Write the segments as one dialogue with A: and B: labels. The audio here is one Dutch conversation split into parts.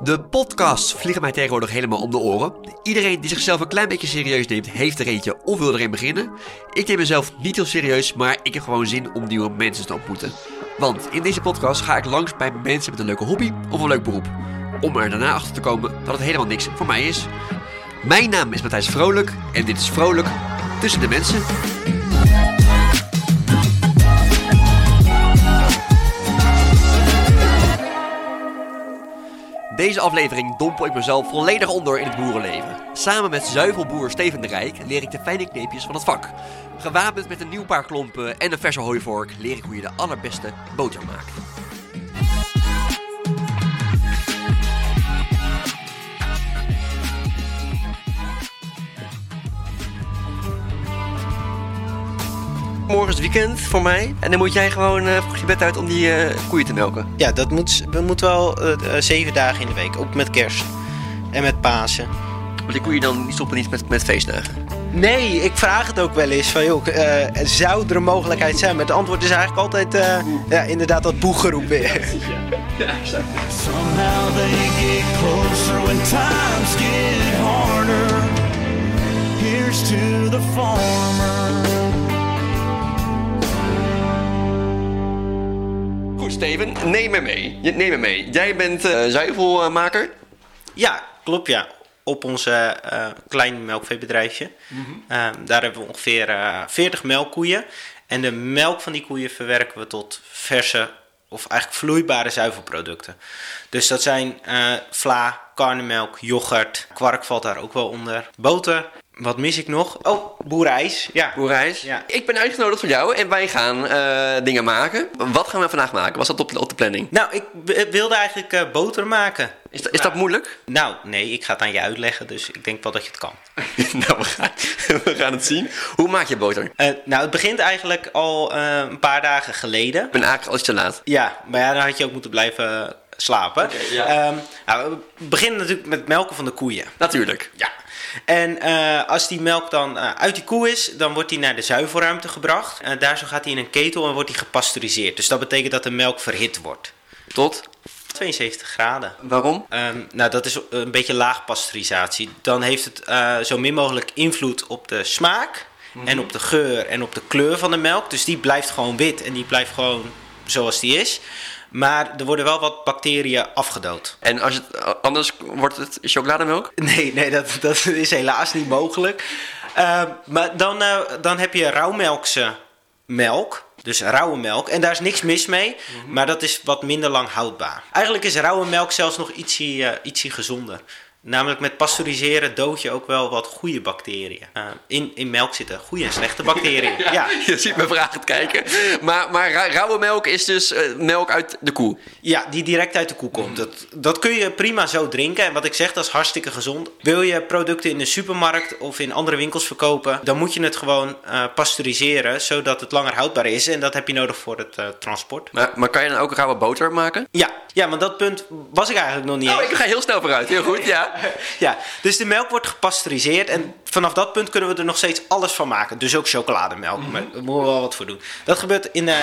A: De podcasts vliegen mij tegenwoordig helemaal om de oren. Iedereen die zichzelf een klein beetje serieus neemt, heeft er eentje of wil erin beginnen. Ik neem mezelf niet heel serieus, maar ik heb gewoon zin om nieuwe mensen te ontmoeten. Want in deze podcast ga ik langs bij mensen met een leuke hobby of een leuk beroep. Om er daarna achter te komen dat het helemaal niks voor mij is. Mijn naam is Matthijs Vrolijk en dit is Vrolijk tussen de mensen. Deze aflevering dompel ik mezelf volledig onder in het boerenleven. Samen met zuivelboer Steven de Rijk leer ik de fijne kneepjes van het vak. Gewapend met een nieuw paar klompen en een verse hooivork leer ik hoe je de allerbeste boter maakt. Morgen is het weekend voor mij en dan moet jij gewoon eh, vroeg je bed uit om die eh, koeien te melken.
B: Ja, dat moet, we moeten wel eh, eh, zeven dagen in de week. Ook met kerst. En met Pasen.
A: Want die koeien dan die stoppen niet met, met feestdagen.
B: Nee, ik vraag het ook wel eens van joh, eh, zou er een mogelijkheid zijn? Maar het antwoord is eigenlijk altijd eh, ja, inderdaad dat boegeroep weer.
C: Somehow they get closer when times get harder. Here's to the farmer.
A: Goed, Steven, neem me mee. Je- Neem me mee. Jij bent eh, zuivelmaker.
B: Ja, klopt ja. Op ons eh, eh, klein melkveebedrijfje.
A: Mhm.
B: Ehm, daar hebben we ongeveer eh 40 melkkoeien. En de melk van die koeien verwerken we tot verse of eigenlijk vloeibare zuivelproducten. Dus dat zijn eh, vla, karnemelk, yoghurt, kwark valt daar ook wel onder. Boter, wat mis ik nog? Oh, boerijs. Ja.
A: Boerijs.
B: Ja.
A: Ik ben uitgenodigd voor jou en wij gaan eh, dingen maken. Wat gaan we vandaag maken? Was dat op, op de planning?
B: Nou, ik w- wilde eigenlijk eh, boter maken.
A: Is, da- is dat moeilijk?
B: Nou, nee, ik ga het aan je uitleggen, dus ik denk wel dat je het kan.
A: nou, we gaan, we gaan het zien. Hoe maak je boter? Ik
B: Eh, nou, het begint eigenlijk al eh, een paar dagen geleden.
A: ben eigenlijk al iets te laat.
B: Ja, maar ja, dan had je ook moeten blijven slapen.
A: ja.
B: Ehm, nou, we beginnen natuurlijk met het melken van de koeien.
A: Natuurlijk.
B: Ja. En eh, als die melk dan eh, uit die koe is, dan wordt die naar de zuivelruimte gebracht. Eh, daar zo gaat hij in een ketel en wordt die gepasteuriseerd. Dus dat betekent dat de melk verhit wordt.
A: Tot?
B: 72 graden.
A: Waarom?
B: Ehm, nou, dat is een beetje laag pasteurisatie. Dan heeft het eh, zo min mogelijk invloed op de smaak en op de geur en op de kleur van de melk. Dus die blijft gewoon wit en die blijft gewoon zoals die is. Maar er worden wel wat bacteriën afgedood.
A: En als het, eh, anders wordt het chocolademelk?
B: Nee, nee, dat, dat is helaas niet mogelijk. Ehm, maar dan, eh, dan heb je rauwmelkse melk. Dus rauwe melk. En daar is niks mis mee. Maar dat is wat minder lang houdbaar. Eigenlijk is rauwe melk zelfs nog ietsje, eh, ietsje gezonder. Namelijk met pasteuriseren dood je ook wel wat goede bacteriën. Eh, in, in melk zitten goede en slechte bacteriën. ja. Ja.
A: Je ziet me vragend kijken. Maar, maar ra- rauwe melk is dus eh, melk uit de koe.
B: die direct uit de koe komt. Dat, dat kun je prima zo drinken. En wat ik zeg, dat is hartstikke gezond. Wil je producten in de supermarkt of in andere winkels verkopen, dan moet je het gewoon eh, pasteuriseren zodat het langer houdbaar is. En dat heb je nodig voor het eh, transport.
A: Maar, maar kan je dan ook rauwe boter maken?
B: Ja, ja, want dat punt was ik eigenlijk nog niet
A: Oh,
B: eens.
A: ik ga heel snel vooruit. Heel goed, ja.
B: Ja, dus de melk wordt gepasteuriseerd en vanaf dat punt kunnen we er nog steeds alles van maken. Dus ook chocolademelk,
A: Mhm.
B: maar daar moeten we wel wat voor doen. Dat gebeurt in, eh,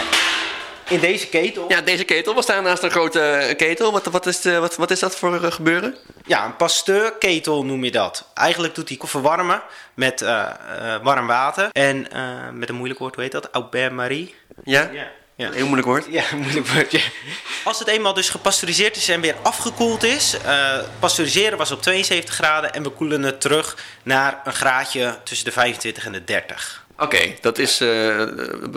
B: in deze ketel. Ja.
A: Ja, deze ketel. We staan naast een grote eh, ketel. Wat, wat, is, de- wat, wat is dat voor eh, gebeuren?
B: een pasteurketel noem je dat. Eigenlijk doet hij verwarmen met eh, eh, warm water en eh, met een moeilijk woord, hoe heet dat? Au bain-marie?
A: Ja?
B: Ja. Ja.
A: Heel moeilijk woord.
B: Ja, een moeilijk woordje. Als het eenmaal dus gepasteuriseerd is en weer afgekoeld is. eh pasteuriseren was op 72 graden en we koelen het terug naar een graadje tussen de 25 en de 30.
A: Oké, dat is... eh,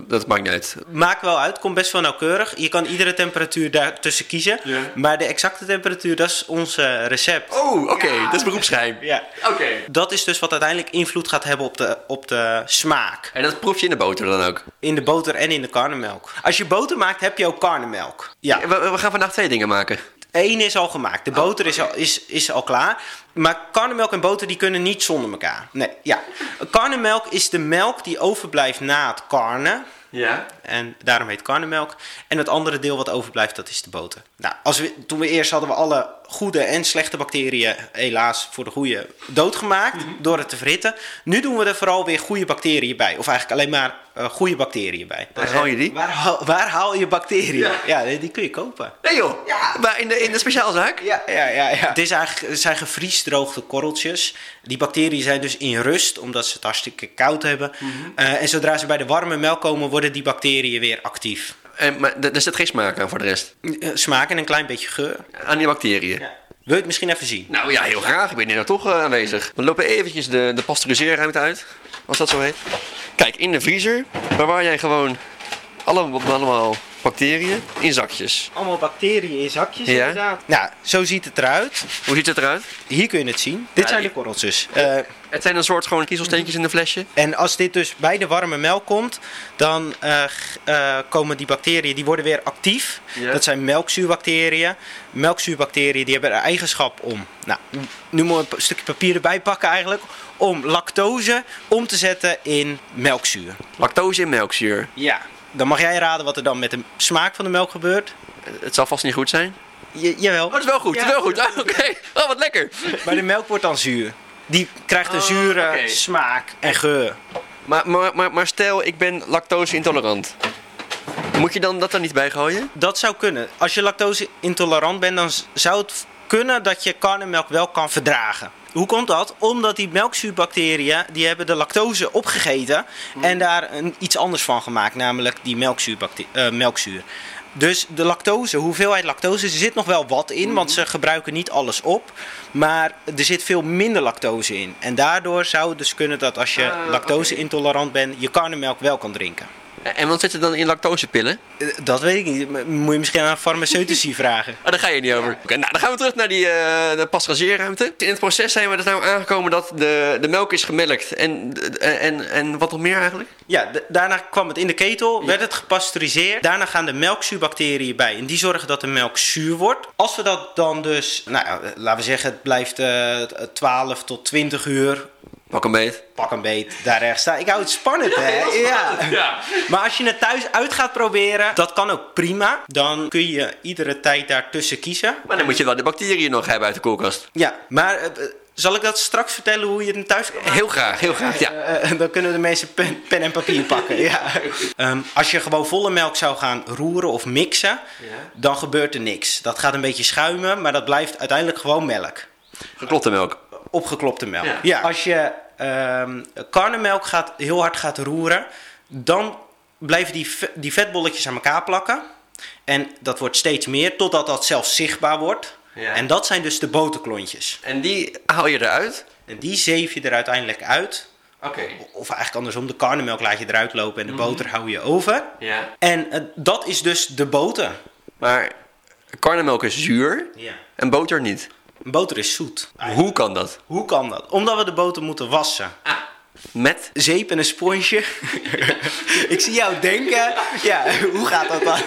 A: dat maakt niet uit.
B: Maakt wel uit, komt best wel nauwkeurig. Je kan iedere temperatuur daartussen kiezen.
A: Ja.
B: Maar de exacte temperatuur, dat is ons eh, recept. Oh,
A: Oh, oké. Dat is beroepsgeheim.
B: Ja.
A: Oké.
B: Dat is dus wat uiteindelijk invloed gaat hebben op de, op de smaak.
A: En dat proef je in de boter dan ook.
B: In de boter en in de karnemelk. Als je boter maakt, heb je ook karnemelk. Ja.
A: We, we gaan vandaag twee dingen maken.
B: Eén is al gemaakt. De boter is, al, is, is al klaar. Maar karnemelk en boter die kunnen niet zonder elkaar. Nee, ja. Karnemelk is de melk die overblijft na het karnen.
A: Ja.
B: En daarom heet karnemelk. En het andere deel wat overblijft, dat is de boter. Nou, als we, toen we eerst hadden we alle goede en slechte bacteriën, helaas voor de goede, doodgemaakt
A: Mhm.
B: door het te verhitten. Nu doen we er vooral weer goede bacteriën bij. Of eigenlijk alleen maar eh, goede bacteriën bij.
A: Waar haal je die?
B: Waar, haal- waar haal je bacteriën?
A: Ja.
B: Ja, die, die kun je kopen.
A: Nee joh, maar in de, in de speciaalzaak?
B: Ja, ja, ja. ja. Het, is eigenlijk, het zijn gevriesdroogde korreltjes. Die bacteriën zijn dus in rust, omdat ze het hartstikke koud hebben.
A: Mhm.
B: Eh, en zodra ze bij de warme melk komen, worden die bacteriën weer actief.
A: En, Eh, maar d- er zit geen smaak aan voor de rest.
B: Eh, Smaak en een klein beetje geur.
A: Aan die bacteriën.
B: Wil je het misschien even zien?
A: Nou ja, heel graag. Ik ben hier nou toch eh, aanwezig. We lopen eventjes de, de pasteuriseerruimte uit. Als dat zo heet. Kijk, in de vriezer bewaar jij gewoon allemaal, allemaal bacteriën in zakjes.
B: Allemaal bacteriën in zakjes
A: Ja.
B: inderdaad. Nou, zo ziet het eruit.
A: Hoe ziet het eruit?
B: Hier kun je het zien. Dit zijn de
A: die-
B: korreltjes. Eh,
A: Het zijn een soort gewoon kiezelsteentjes in een flesje.
B: en als dit dus bij de warme melk komt, dan eh, g- eh, komen die bacteriën, die worden weer actief.
A: Ja.
B: Dat zijn melkzuurbacteriën. Melkzuurbacteriën, die hebben een eigenschap om, nou, nu moet ik een stukje papier erbij pakken eigenlijk, om lactose om te zetten in melkzuur.
A: Lactose in melkzuur.
B: Ja. Dan mag jij raden wat er dan met de smaak van de melk gebeurt.
A: Het zal vast niet goed zijn. Oh,
B: Je- jawel.
A: het is wel goed.
B: Ja.
A: het is wel goed. Ah, Oké. Oh, wat lekker.
B: Maar de melk wordt dan zuur. Die krijgt een
A: Oh,
B: zure
A: oké.
B: smaak en geur.
A: Maar, maar, maar, maar stel, ik ben lactose intolerant. Moet je dan dat er niet bij gooien?
B: Dat zou kunnen. Als je lactose intolerant bent, dan z- zou het kunnen dat je karnemelk wel kan verdragen. Hoe komt dat? Omdat die melkzuurbacteriën, die hebben de lactose opgegeten
A: Hmm.
B: en daar een, iets anders van gemaakt, namelijk die melkzuurbacte- eh, melkzuur. Dus de lactose, hoeveelheid lactose, er zit nog wel wat in, want
A: Hmm.
B: ze gebruiken niet alles op. Maar er zit veel minder lactose in. En daardoor zou het dus kunnen dat als je
A: Ah, oké.
B: lactose intolerant bent, je karnemelk wel kan drinken.
A: En wat zit er dan in lactosepillen?
B: Eh, Dat weet ik niet. M- Moet je misschien aan een farmaceutici vragen.
A: Oh, daar ga je niet over. Oké, nou, dan gaan we terug naar die, eh, de passageerruimte. In het proces zijn we er nou aangekomen dat de, de melk is gemelkt. En, en, en wat nog meer eigenlijk?
B: Ja, d- daarna kwam het in de ketel, werd het gepasteuriseerd. Daarna gaan de melkzuurbacteriën bij en die zorgen dat de melk zuur wordt. Als we dat dan dus, nou ja, eh, laten we zeggen, het blijft eh, t- eh, 12 tot 20 uur.
A: Pak een beet.
B: Pak een beet, daar rechts staan. Ik hou het spannend, hè?
A: ja.
B: Maar als je het thuis uit gaat proberen, dat kan ook prima. Dan kun je iedere tijd daartussen kiezen.
A: Maar dan moet je wel de bacteriën nog hebben uit de koelkast.
B: Ja, maar eh, eh, zal ik dat straks vertellen hoe je het thuis kan maken?
A: Heel graag, heel graag, ja.
B: Eh, dan kunnen de mensen pen, pen en papier pakken. ja. Ehm, als je gewoon volle melk zou gaan roeren of mixen, dan gebeurt er niks. Dat gaat een beetje schuimen, maar dat blijft uiteindelijk gewoon melk.
A: Geklopte melk.
B: Opgeklopte melk.
A: Ja.
B: Als je ehm karnemelk gaat, heel hard gaat roeren, dan blijven die, ve- die vetbolletjes aan elkaar plakken. En dat wordt steeds meer, totdat dat zelfs zichtbaar wordt.
A: Ja.
B: En dat zijn dus de boterklontjes.
A: En die haal je eruit?
B: En die zeef je er uiteindelijk uit.
A: Oké.
B: Of eigenlijk andersom, de karnemelk laat je eruit lopen en de boter hou je over.
A: Ja.
B: En eh, dat is dus de boter.
A: Maar karnemelk is zuur
B: Ja.
A: en boter niet.
B: Een Boter is zoet. Ah,
A: Hoe kan dat?
B: Hoe kan dat? Omdat we de boter moeten wassen.
A: Met?
B: Zeep en een sponsje. Ik zie jou denken. Ja, hoe gaat dat dan?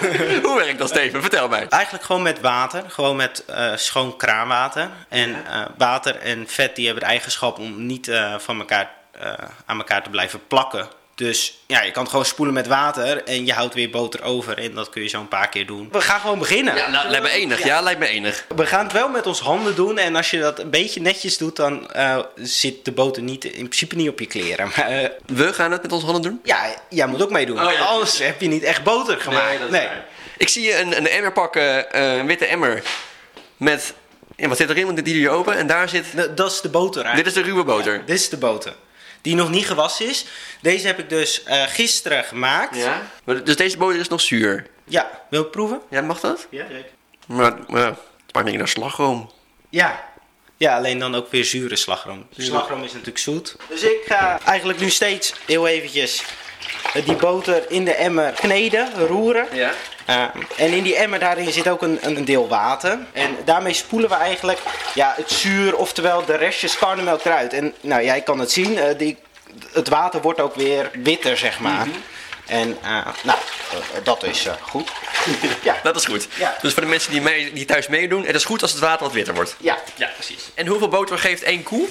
A: Hoe werkt dat, Steven? Vertel mij.
B: Eigenlijk gewoon met water. Gewoon met eh, schoon kraanwater. En eh, water en vet die hebben de eigenschap om niet eh, van elkaar, eh, aan elkaar te blijven plakken. Dus ja, je kan het gewoon spoelen met water en je houdt weer boter over. En dat kun je zo een paar keer doen. We gaan gewoon beginnen.
A: Ja, nou, lijkt me enig. Ja, lijkt me enig.
B: We gaan het wel met ons handen doen. En als je dat een beetje netjes doet, dan eh, zit de boter niet, in principe niet op je kleren. Maar eh,
A: We gaan het met onze handen doen.
B: ja, jij moet ook meedoen.
A: Oh, ja.
B: Anders heb je niet echt boter gemaakt.
A: Nee, dat is waar. Ik zie je een, een emmer pakken, eh, een witte emmer. Met. Ja, wat zit erin? Want dit doe je open en daar zit.
B: Nou, Dat is de boter
A: Dit
B: eigenlijk.
A: is de ruwe boter.
B: Dit is de boter. Die nog niet gewassen is. Deze heb ik dus eh, gisteren gemaakt.
A: Maar, dus deze boter is nog zuur.
B: Ja, wil je het proeven?
A: Ja, mag dat?
B: Ja, zeker.
A: Maar, maar het maakt niet naar slagroom.
B: Ja. Ja, alleen dan ook weer zure slagroom. Slagroom is natuurlijk zoet. Dus ik ga eigenlijk nu steeds heel eventjes eh, die boter in de emmer kneden, roeren.
A: Ja.
B: Eh, en in die emmer daarin zit ook een, een deel water. En daarmee spoelen we eigenlijk ja, het zuur, oftewel de restjes karnemelk eruit. En nou, jij kan het zien, eh, die, het water wordt ook weer witter, zeg maar. En eh, nou, eh, dat is eh, goed. ja.
A: Dat is goed.
B: Ja.
A: Dus voor de mensen die, mee, die thuis meedoen, het is goed als het water wat witter wordt.
B: Ja, ja, precies.
A: En hoeveel boter geeft één koe?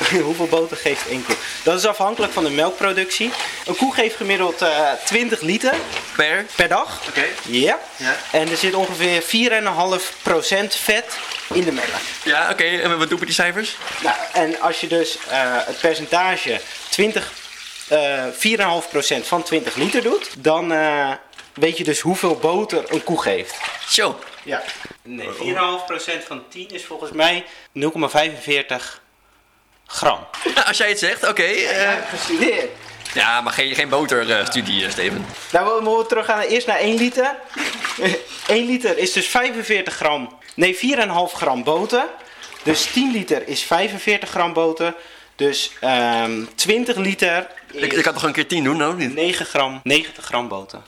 B: Hoeveel boter geeft één koe? Dat is afhankelijk van de melkproductie. Een koe geeft gemiddeld eh 20 liter
A: Per?
B: per dag.
A: Oké.
B: Ja.
A: Ja.
B: En er zit ongeveer 4,5% vet in de melk.
A: Ja, oké. En wat doen we die cijfers?
B: Nou, en als je dus eh, het percentage 20, eh 4,5% van 20 liter doet, dan eh, weet je dus hoeveel boter een koe geeft.
A: Zo.
B: Ja. Nee, 4,5% van 10 is volgens mij 0,45 gram.
A: Nou, als jij het zegt, oké. eh, ja.
B: gestudeerd.
A: maar geen, geen boterstudie, eh, Steven.
B: Nou, we moeten terug gaan eerst naar 1 liter. 1 liter is dus 45 gram, nee 4,5 gram boter. Dus 10 liter is 45 gram boter. Dus ehm 20 liter
A: Ik, ik
B: is
A: kan toch een keer 10 doen, nou of niet?
B: 9 gram, 90 gram boter.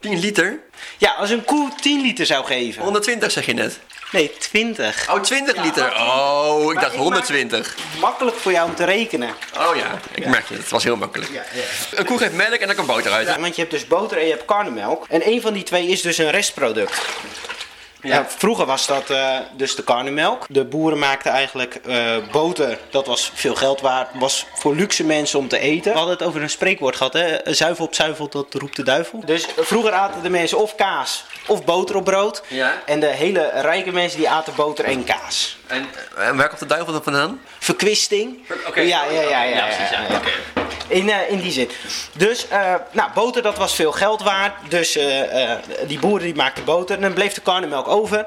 A: 10 liter?
B: Ja, als een koe 10 liter zou geven.
A: 120 zeg je net.
B: Nee, 20.
A: Oh, 20 liter. Oh, ik
B: Maar
A: dacht
B: ik maak-
A: 120.
B: Makkelijk voor jou om te rekenen.
A: Oh ja, ik merk het. Het was heel makkelijk.
B: Ja, ja.
A: Een koe geeft melk en dan komt boter uit.
B: Ja, want je hebt dus boter en je hebt karnemelk. En een van die twee is dus een restproduct. Ja. vroeger was dat eh, dus de karnemelk. De boeren maakten eigenlijk eh, boter. Dat was veel geld waard. Was voor luxe mensen om te eten. We hadden het over een spreekwoord gehad. Hè? Zuivel op zuivel, dat roept de duivel. Dus vroeger aten de mensen of kaas of boter op brood.
A: Ja.
B: En de hele rijke mensen die aten boter en kaas.
A: En, en waar komt de duivel dan vandaan?
B: Verkwisting.
A: Oké.
B: Ja, ja, ja. ja,
A: Ja, precies, ja. Oké.
B: In, eh, in die zin. Dus, eh, nou, boter dat was veel geld waard. Dus eh, eh, die boeren die maakten boter. En dan bleef de karnemelk over.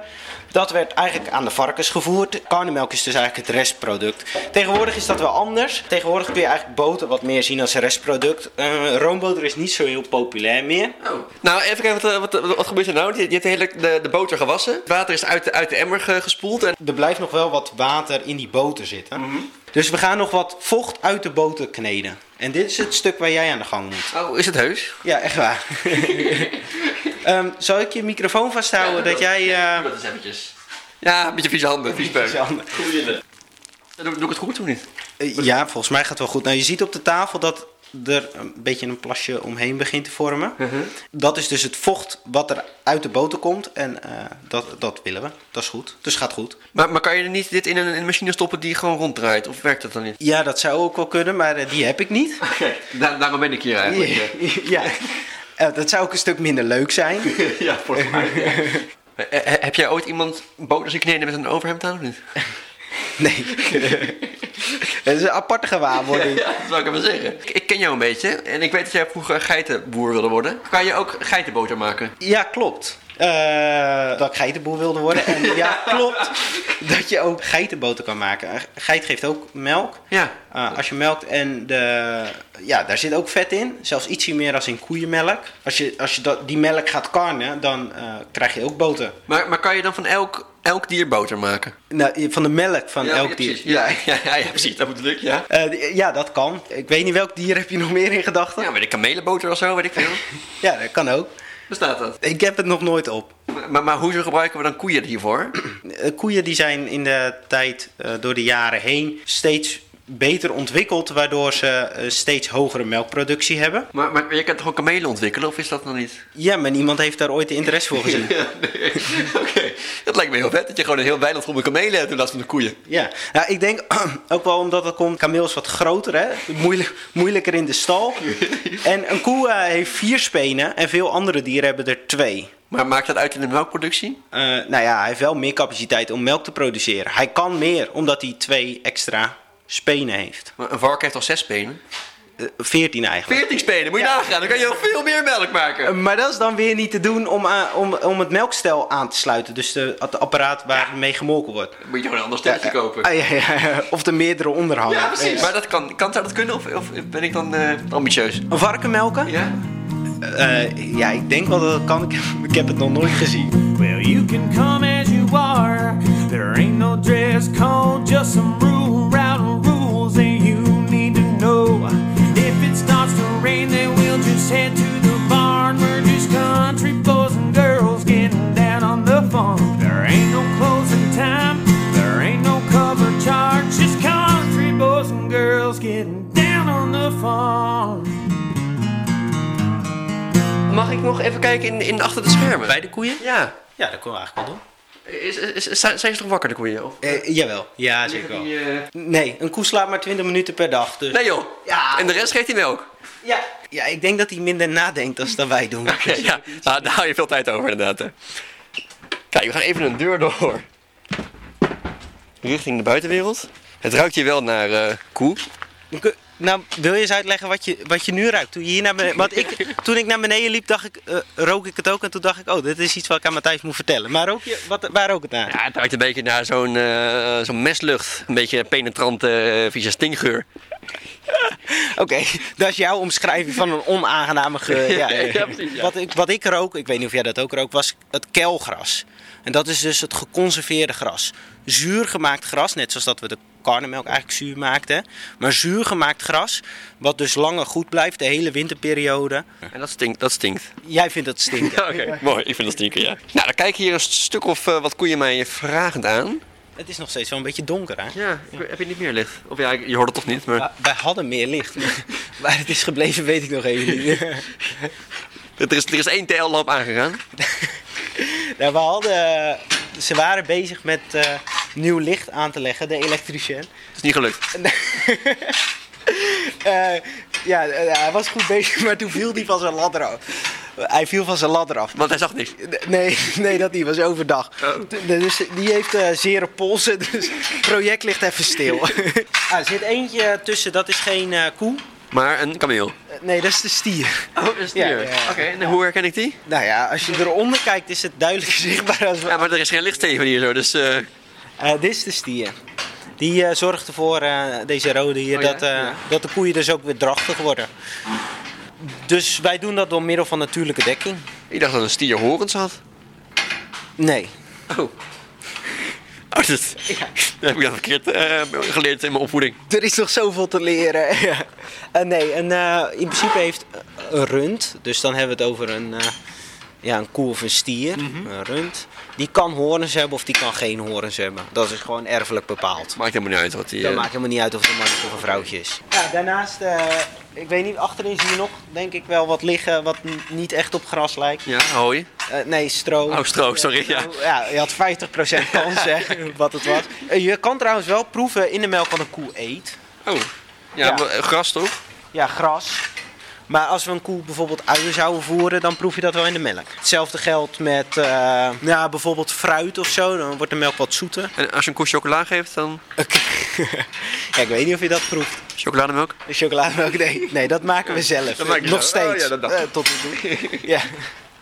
B: Dat werd eigenlijk aan de varkens gevoerd. Karnemelk is dus eigenlijk het restproduct. Tegenwoordig is dat wel anders. Tegenwoordig kun je eigenlijk boter wat meer zien als een restproduct. Eh, roomboter is niet zo heel populair meer.
A: Nou, even kijken, wat, eh, wat, wat, wat gebeurt er nou? Je, je hebt de, hele, de, de boter gewassen. Het water is uit de, uit de emmer ge- gespoeld. En
B: Er blijft nog wel wat water in die boter zitten.
A: Mhm.
B: Dus we gaan nog wat vocht uit de boter kneden. En dit is het stuk waar jij aan de gang moet.
A: Oh, is het heus?
B: Ja, echt waar. Ehm, zal ik je microfoon vasthouden dat jij. eh,
A: Dat is eventjes. Ja, een beetje vieze handen, vies peuk.
B: je handen-
A: Doe, doe ik het goed of niet?
B: Eh, ja, volgens mij gaat het wel goed. Nou, je ziet op de tafel dat er een beetje een plasje omheen begint te vormen. Dat is dus het vocht wat er uit de boter komt. En eh, dat, dat willen we. Dat is goed. Dus gaat goed.
A: Maar, maar kan je er niet dit in een, in een machine stoppen die gewoon ronddraait? Of werkt dat dan niet?
B: Ja, dat zou ook wel kunnen, maar eh, die heb ik niet.
A: daarom ben ik hier
B: ja. Eh, dat zou ook een stuk minder leuk zijn.
A: Ja, volgens mij. Eh, Heb jij ooit iemand boter zien kneden met een overhemd aan of niet?
B: Nee. dat is een aparte gewaarwording.
A: Ja, dat zou ik even zeggen. Ik, ik ken jou een beetje en ik weet dat jij vroeger geitenboer wilde worden. Kan je ook geitenboter maken?
B: Ja, klopt. Eh, dat ik geitenboer wilde worden. En ja, klopt. Dat je ook geitenboter kan maken. Een Geit geeft ook melk.
A: Ja.
B: Eh, als je melkt en de, ja, daar zit ook vet in. Zelfs ietsje meer als in koeienmelk. Als je, als je dat, die melk gaat karnen, dan eh, krijg je ook boter.
A: Maar, maar kan je dan van elk, elk dier boter maken?
B: Nou, je- van de melk van elk dier.
A: precies. Ja, ja, ja, ja, precies. Dat bedoel ik, ja.
B: Eh, die- ja, dat kan. Ik weet niet welk dier heb je nog meer in gedachten.
A: Ja,
B: Ja.
A: maar de kamelenboter of zo, weet ik veel.
B: dat kan ook.
A: Bestaat dat?
B: Ik heb het nog nooit op.
A: Maar, maar hoezo gebruiken we dan koeien hiervoor?
B: Eh, Koeien die zijn in de tijd, eh, door de jaren heen, steeds beter ontwikkeld, waardoor ze eh, steeds hogere melkproductie hebben.
A: Maar, maar je kan toch ook kamelen ontwikkelen, of is dat nog niet?
B: Ja, maar niemand heeft daar ooit de interesse voor gezien.
A: Ja, nee. Oké. Dat lijkt me heel vet, dat je gewoon een heel weiland vol met kamelen hebt in plaats van de koeien.
B: Ja, nou, ik denk ook wel omdat het komt. Kameel is wat groter, hè? Moeilijk, moeilijker in de stal. En een koe eh, heeft vier spenen en veel andere dieren hebben er twee.
A: Maar maakt dat uit in de melkproductie?
B: Eh, nou ja, hij heeft wel meer capaciteit om melk te produceren. Hij kan meer omdat hij twee extra spenen heeft. Eh,
A: Maar een vark heeft al zes spenen.
B: Veertien eigenlijk.
A: 14 spenen, moet je nagaan. Dan kan je al veel meer melk maken.
B: Maar dat is dan weer niet te doen om, eh, om, om het melkstel aan te sluiten. Dus de, het apparaat waar mee gemolken wordt.
A: Dan moet je gewoon een ander stelletje kopen.
B: Ah, ja, ja, ja. Of de meerdere onderhangen.
A: ja, precies. Maar dat kan, kan zou dat kunnen of, of ben ik dan eh, ambitieus?
B: Een varken melken? Ja.
A: Ja?
B: Eh, ja, ik denk wel dat dat kan. Ik heb, ik heb het nog nooit gezien.
C: Well, you can come as you are. There ain't no dress code, just some rule round rules that you need to know. If it starts to rain, then we'll just head to the barn. We're just country boys and girls getting down on the farm. There ain't no closing time, there ain't no cover charge. Just country boys and girls getting down on the farm.
A: ik nog even kijken in, in achter de schermen.
B: Bij de koeien?
A: Ja.
B: Ja, dat kunnen we eigenlijk wel doen.
A: Is, is- is- zijn zijn ze nog wakker, de koeien? Of?
B: Eh, jawel. Ja, zeker wel.
A: Die, eh,
B: Nee, een koe slaapt maar 20 minuten per dag. Dus...
A: Nee joh.
B: Ja.
A: En de rest geeft hij melk.
B: Ja. ja, ik denk dat hij minder nadenkt dan dat wij doen.
A: Oké, ja. Ah, daar hou je veel tijd over inderdaad. hè. Kijk, we gaan even een deur door. Richting de buitenwereld. Het ruikt hier wel naar eh, koe.
B: Dan kun- Nou, wil je eens uitleggen wat je, wat je nu ruikt? Toen, je hier naar beneden, want ik, toen ik naar beneden liep, dacht ik, eh, rook ik het ook. En toen dacht ik, oh, dit is iets wat ik aan Matthijs moet vertellen. Maar rook je, wat, waar rook het naar?
A: Ja, het ruikt een beetje naar zo'n eh, zo'n meslucht. Een beetje penetrante eh, vieze stinkgeur.
B: Oké, dat is jouw omschrijving van een onaangename geur. Ja, ja.
A: Ja, precies, ja.
B: Wat, ik, wat ik rook, ik weet niet of jij dat ook rook, was het kelgras. En dat is dus het geconserveerde gras. Zuur gemaakt gras, net zoals dat we de karnemelk eigenlijk zuur maakten. Maar zuur gemaakt gras, wat dus langer goed blijft, de hele winterperiode.
A: En dat stinkt. Dat stinkt.
B: Jij vindt dat stinken.
A: Ja, Oké, mooi. Ik vind dat stinken, ja. Nou, dan kijken hier een stuk of eh, wat koeien mij vragend aan.
B: Het is nog steeds wel een beetje donker, hè?
A: Ja, heb je niet meer licht? Of ja, je hoort het toch niet, maar...
B: Wa- Wij hadden meer licht. maar Waar het is gebleven, weet ik nog even niet.
A: Er is, er is één TL-lamp aangegaan.
B: Nou, we hadden, ze waren bezig met eh, nieuw licht aan te leggen, de elektricien.
A: Het is niet gelukt.
B: Eh, ja, eh, hij was goed bezig, maar toen viel hij van zijn ladder af. Hij viel van zijn ladder af.
A: Want hij zag niks.
B: Nee, nee dat niet, was overdag.
A: Oh.
B: T- Dus die heeft eh zere polsen, dus het project ligt even stil. Ah, er zit eentje tussen, dat is geen eh, koe.
A: Maar een kameel.
B: Eh, Nee, dat is de stier.
A: Oh, dat is
B: Ja, ja, ja.
A: Oké, en hoe herken ik die?
B: Nou ja, als je eronder kijkt is het duidelijk zichtbaar als
A: Ja, maar er is geen lichtsteven hier zo, dus... eh,
B: Eh, dit is de stier. Die eh, zorgt ervoor, eh, deze rode hier,
A: Oh ja?
B: dat, eh,
A: Ja.
B: dat de koeien dus ook weer drachtig worden. Dus wij doen dat door middel van natuurlijke dekking.
A: Ik dacht dat een stier horens had.
B: Nee.
A: Oh. Oh, dat, dat heb ik dat verkeerd eh, geleerd in mijn opvoeding.
B: Er is nog zoveel te leren. Ja. Eh, nee, en eh, in principe heeft een rund, dus dan hebben we het over een, eh, ja, een koe of een stier, een rund. Die kan horens hebben of die kan geen horens hebben. Dat is gewoon erfelijk bepaald.
A: Maakt helemaal niet uit wat die...
B: Dat
A: eh,
B: maakt helemaal niet uit of het een mannetje of een vrouwtje is. Ja, daarnaast, eh, ik weet niet, achterin zie je nog denk ik wel wat liggen wat n- niet echt op gras lijkt.
A: Ja, hooi.
B: Eh, nee, stro.
A: Oh, stro, sorry, ja.
B: ja, je had 50% kans hè, wat het was. Eh, je kan trouwens wel proeven in de melk van een koe eet.
A: Oh. Ja,
B: Ja.
A: maar, eh, gras toch?
B: Ja, gras. Maar als we een koe bijvoorbeeld uien zouden voeren, dan proef je dat wel in de melk. Hetzelfde geldt met eh, ja, bijvoorbeeld fruit of zo, dan wordt de melk wat zoeter.
A: En als je een koe chocola geeft, dan
B: ja, ik weet niet of je dat proeft.
A: chocolademelk?
B: De chocolademelk, nee. Nee, dat maken we zelf.
A: Dat maak je
B: Nog
A: zelf.
B: steeds.
A: Oh, ja, dat dacht ik.
B: Eh, tot nu toe. ja.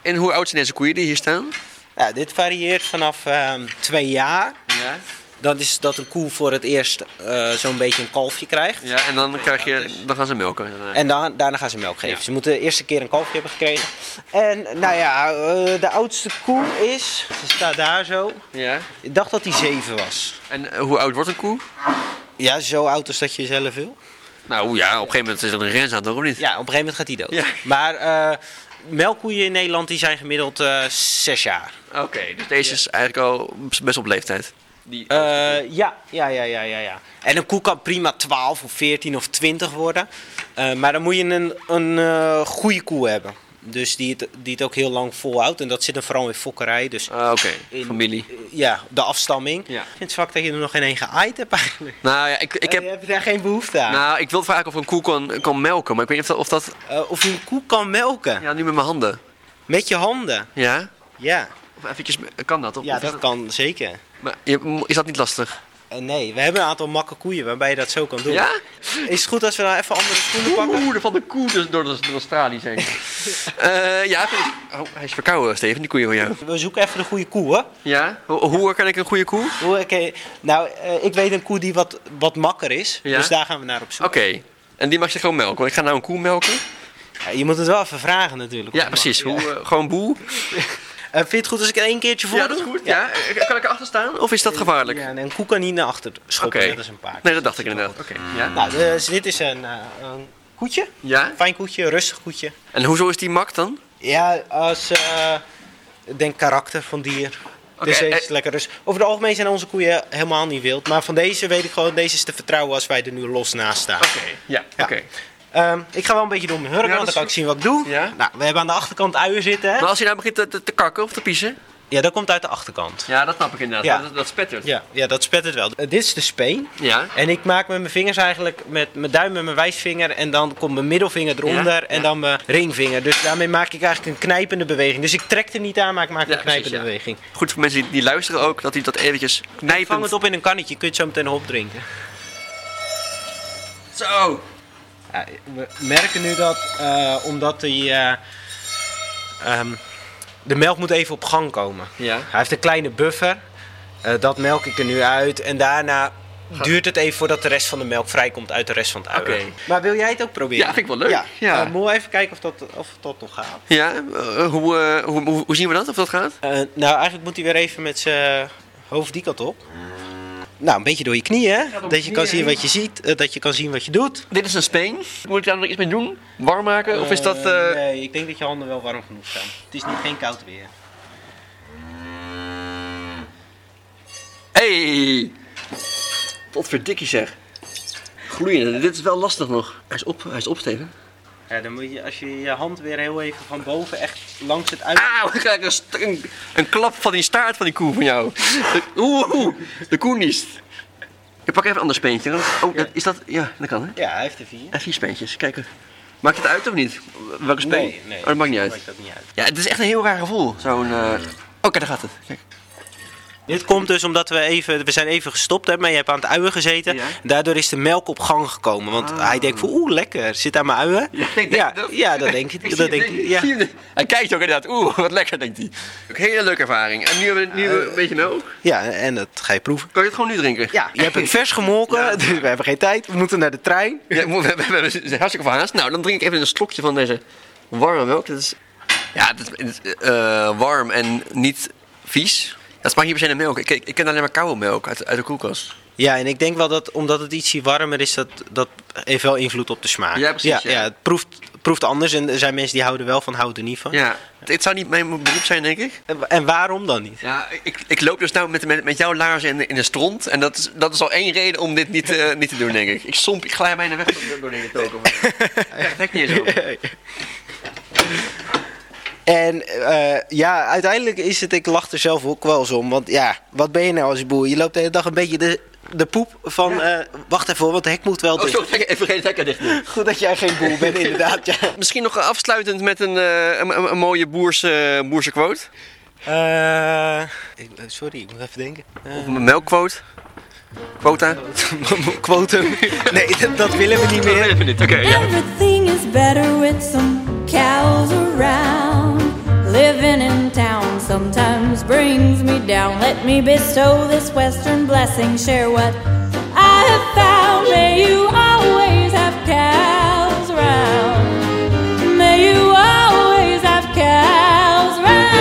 A: En hoe oud zijn deze koeien die hier staan?
B: Nou, dit varieert vanaf ehm, twee jaar.
A: Ja.
B: Dan is dat een koe voor het eerst eh, zo'n beetje een kalfje krijgt.
A: Ja, en dan, krijg je, dan gaan ze melken.
B: En dan, daarna gaan ze melk geven. Ze moeten de eerste keer een kalfje hebben gekregen. En nou ja, eh, de oudste koe is... Ze staat daar zo.
A: Ja.
B: Ik dacht dat hij zeven was.
A: En eh, hoe oud wordt een koe?
B: Ja, zo oud als dat je zelf wil.
A: Nou ja, op een gegeven moment is er een grens aan, toch? Of niet?
B: Ja, op een gegeven moment gaat hij dood.
A: Ja.
B: Maar eh, melkkoeien in Nederland die zijn gemiddeld eh, zes jaar.
A: Oké, dus deze is eigenlijk al best op leeftijd. Die,
B: Eh, ja, ja, ja, ja, ja, ja. En een koe kan prima 12 of 14 of 20 worden. Eh, maar dan moet je een, een eh, goede koe hebben. Dus die het, die het ook heel lang volhoudt. En dat zit er vooral in fokkerij. Dus
A: Ah, Oké,
B: in-
A: familie.
B: eh, ja, de afstamming.
A: Ja.
B: Ik vind het zwak dat je er nog geen één geaaid hebt eigenlijk.
A: Nou ja, ik, ik
B: Heb...
A: heb...
B: Je hebt daar geen behoefte aan.
A: Nou, ik wil vragen of een koe kan, kan melken, maar ik weet niet of dat... Of dat
B: Eh, of je een koe kan melken.
A: ja, nu met mijn handen.
B: Met je handen.
A: Ja?
B: Ja,
A: Of eventjes... Kan dat? Of,
B: ja
A: of is
B: dat kan zeker.
A: Maar je- is dat niet lastig?
B: Eh, nee, we hebben een aantal makke koeien waarbij je dat zo kan doen.
A: Ja?
B: Is het goed als we dan even andere schoenen pakken?
A: Oeh, van de koe dus door, de- door Australië zijn. Eh, ja, vind ik- oh, hij is verkouden, Steven, die koeien van jou.
B: We zoeken even de goede koe, hè?
A: Ja? Ho- hoe kan ik een goede koe? Oké.
B: Hoe- oké, Nou, eh, ik weet een koe die wat, wat makker is.
A: Ja?
B: Dus daar gaan we naar op zoek.
A: En die mag zich gewoon melken, want ik ga nou een koe melken.
B: Ja, je moet het wel even vragen natuurlijk.
A: Ja, precies. Hoe, eh, gewoon boe.
B: Eh, vind je het goed als ik er één keertje voor
A: Ja,
B: doe?
A: dat is goed. Ja. Kan ik erachter staan? Eh, Of is dat gevaarlijk?
B: Ja, nee, een koe kan niet naar achter schoppen,
A: Oké.
B: net als een paard.
A: Nee, dat dacht ik inderdaad. Oké. Ja.
B: Nou, dus dit is een, eh, een koetje.
A: ja.
B: Fijn koetje, een rustig koetje.
A: En hoezo is die mak dan?
B: Ja, als... eh, ik denk karakter van dier. dus deze is
A: eh,
B: lekker rustig. Over het algemeen zijn onze koeien helemaal niet wild. Maar van deze weet ik gewoon, deze is te vertrouwen als wij er nu los naast staan.
A: Oké. Ja, oké.
B: Ehm, ik ga wel een beetje door mijn hurken,
A: Ja,
B: want
A: dat
B: dan
A: is
B: kan ik zien wat ik doe.
A: Ja.
B: Nou, we hebben aan de achterkant uien zitten. Hè?
A: Maar als je nou begint te, te, te kakken of te piezen.
B: Ja, dat komt uit de achterkant.
A: Ja, dat snap ik inderdaad.
B: Ja.
A: Dat, dat spettert.
B: Ja, ja, dat spet het wel. Eh, dit is de speen.
A: Ja.
B: En ik maak met mijn vingers eigenlijk, met mijn duim en mijn wijsvinger. En dan komt mijn middelvinger eronder
A: Ja,
B: en
A: ja.
B: dan mijn ringvinger. Dus daarmee maak ik eigenlijk een knijpende beweging. Dus ik trek er niet aan, maar ik maak
A: Ja,
B: een knijpende
A: precies, ja.
B: beweging.
A: Goed voor mensen die, die luisteren ook, dat hij dat eventjes knijpend...
B: Vang het op in een kannetje, kun je het zo meteen op drinken.
A: Zo!
B: Ja, we merken nu dat, eh, omdat die, eh, ehm, de melk moet even op gang komen.
A: Ja.
B: Hij heeft een kleine buffer. Eh, dat melk ik er nu uit. En daarna duurt het even voordat de rest van de melk vrijkomt uit de rest van het uien.
A: Oké.
B: Maar wil jij het ook proberen?
A: Ja, vind ik wel leuk.
B: Ja.
A: Ja.
B: Eh, moet even kijken of dat, of dat nog gaat.
A: Ja, eh, hoe, eh, hoe, hoe, hoe zien we dat? Of dat gaat?
B: Eh, nou, eigenlijk moet hij weer even met zijn hoofd die kant op. Nou, een beetje door je knieën, hè? dat je kan zien wat je ziet, eh, dat je kan zien wat je doet.
A: Dit is een speen. Moet ik daar nog iets mee doen? Warm maken? Of is dat...
B: Eh,
A: eh,
B: nee, ik denk dat je handen wel warm genoeg zijn. Het is niet geen koud weer.
A: Hey! Wat verdikkie zeg. Gloeiende. Dit is wel lastig nog. Hij is op, hij is op, Steven.
B: Ja, dan moet je als je je hand weer heel even van boven echt langs het uit.
A: Auw, ik krijg een, st- een, een klap van die staart van die koe van jou. De- Oeh, oeh, de koe niest. Ik pak even een ander speentje. Oh, dat- is dat... Ja, dat kan hè.
B: Ja, hij heeft er vier.
A: En vier speentjes. Kijken. Maakt het uit of niet? Welke speen? Oh, dat maakt niet uit.
B: dat niet uit.
A: Ja, het is echt een heel raar gevoel. Zo'n... eh, Oh, kijk, daar gaat het. Kijk.
B: Dit komt dus omdat we even, we zijn even gestopt, hè, maar je hebt aan het uien gezeten.
A: Ja.
B: Daardoor is de melk op gang gekomen. Want hij denkt van, oeh, lekker, zit aan mijn uien.
A: Ja, ik denk
B: Ah. ja,
A: dat ook.
B: ja, dat denk ik.
A: Ik
B: Dat
A: zie-
B: denk
A: ik-
B: ik
A: ik
B: ja.
A: zie hem. Hij kijkt ook inderdaad. Oeh, wat lekker, denkt hij. Eh, Ook Hele leuke ervaring. En nu hebben we nu hebben we een beetje melk.
B: ja, en dat ga je proeven.
A: Kan je het gewoon nu drinken?
B: Ja, je hebt het vers gemolken, dus we hebben geen tijd. We moeten naar de trein.
A: Ja, we, we, we hebben dus- hartstikke veel haast. Nou, dan drink ik even een slokje van deze warme melk. Dat is, ja, dat is het is, eh, warm en niet vies. Dat smaakt niet per se naar melk. Ik, ik, ik ken alleen maar koude melk uit, uit de koelkast.
B: Ja, en ik denk wel dat omdat het ietsje warmer is, dat, dat heeft wel invloed op de smaak.
A: Ja, precies,
B: Ja,
A: ja.
B: het proeft, proeft anders en er zijn mensen die houden wel van, houden niet van.
A: Ja, dit zou niet mijn beroep zijn, denk ik.
B: En- En waarom dan niet?
A: Ja, ik, ik loop dus nou met, met, met jouw laarzen in, de- in de stront. En dat is, dat is al één reden om dit niet, eh, niet te doen, denk ik. Ik somp, ik glij bijna weg door- door de hele token. Echt, hek niet eens open.
B: En eh, ja, uiteindelijk is het, ik lach er zelf ook wel eens om. Want ja, wat ben je nou als boer? Je loopt de hele dag een beetje de, de poep van, eh, wacht even hoor, want de hek moet wel
A: Oh,
B: dicht.
A: sorry, ik- even geen hekken dicht doen.
B: Goed dat jij geen boer bent, inderdaad. Ja.
A: Misschien nog afsluitend met een, eh, een, een- een mooie boerse, boerse quote.
B: Eh, ik- sorry, ik moet even denken. Eh,
A: Of een melkquote. Quota.
B: Quotum. Nee, dat, dat willen we niet meer.
A: Even niet, oké. ja.
D: Everything is better with some cows around. Living in town sometimes brings me down. Let me bestow this western blessing, share what I have found. May you always have cows around. May you always have cows around.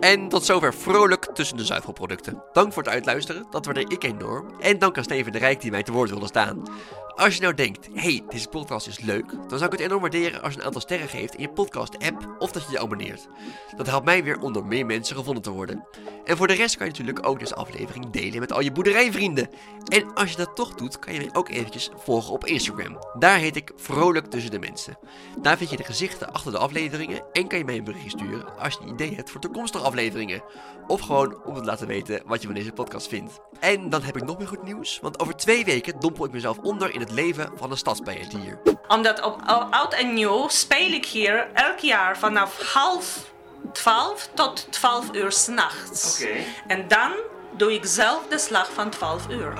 E: En tot zover vrolijk tussen de zuivelproducten. Dank voor het uitluisteren, dat waardeer ik enorm. En dank aan Steven de Rijk die mij te woord wilde staan. Als je nou denkt, hey, deze podcast is leuk, dan zou ik het enorm waarderen als je een aantal sterren geeft in je podcast-app of dat je je abonneert. Dat helpt mij weer om door meer mensen gevonden te worden. En voor de rest kan je natuurlijk ook deze aflevering delen met al je boerderijvrienden. En als je dat toch doet, kan je mij ook eventjes volgen op Instagram. Daar heet ik Vrolijk Tussen de Mensen. Daar vind je de gezichten achter de afleveringen en kan je mij een berichtje sturen als je een idee hebt voor toekomstige afleveringen. Of gewoon om te laten weten wat je van deze podcast vindt. En dan heb ik nog meer goed nieuws, want over twee weken dompel ik mezelf onder in het leven van een stadsbijendier.
F: Omdat op o- oud en nieuw speel ik hier elk jaar vanaf half twaalf tot twaalf uur s'nachts.
A: Oké.
F: En dan doe ik zelf de slag van twaalf uur.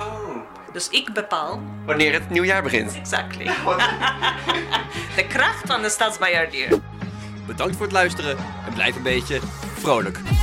F: Dus ik bepaal.
A: Wanneer het nieuwjaar begint.
F: Exactly. de kracht van de stadsbejaardier.
E: Bedankt voor het luisteren en blijf een beetje vrolijk.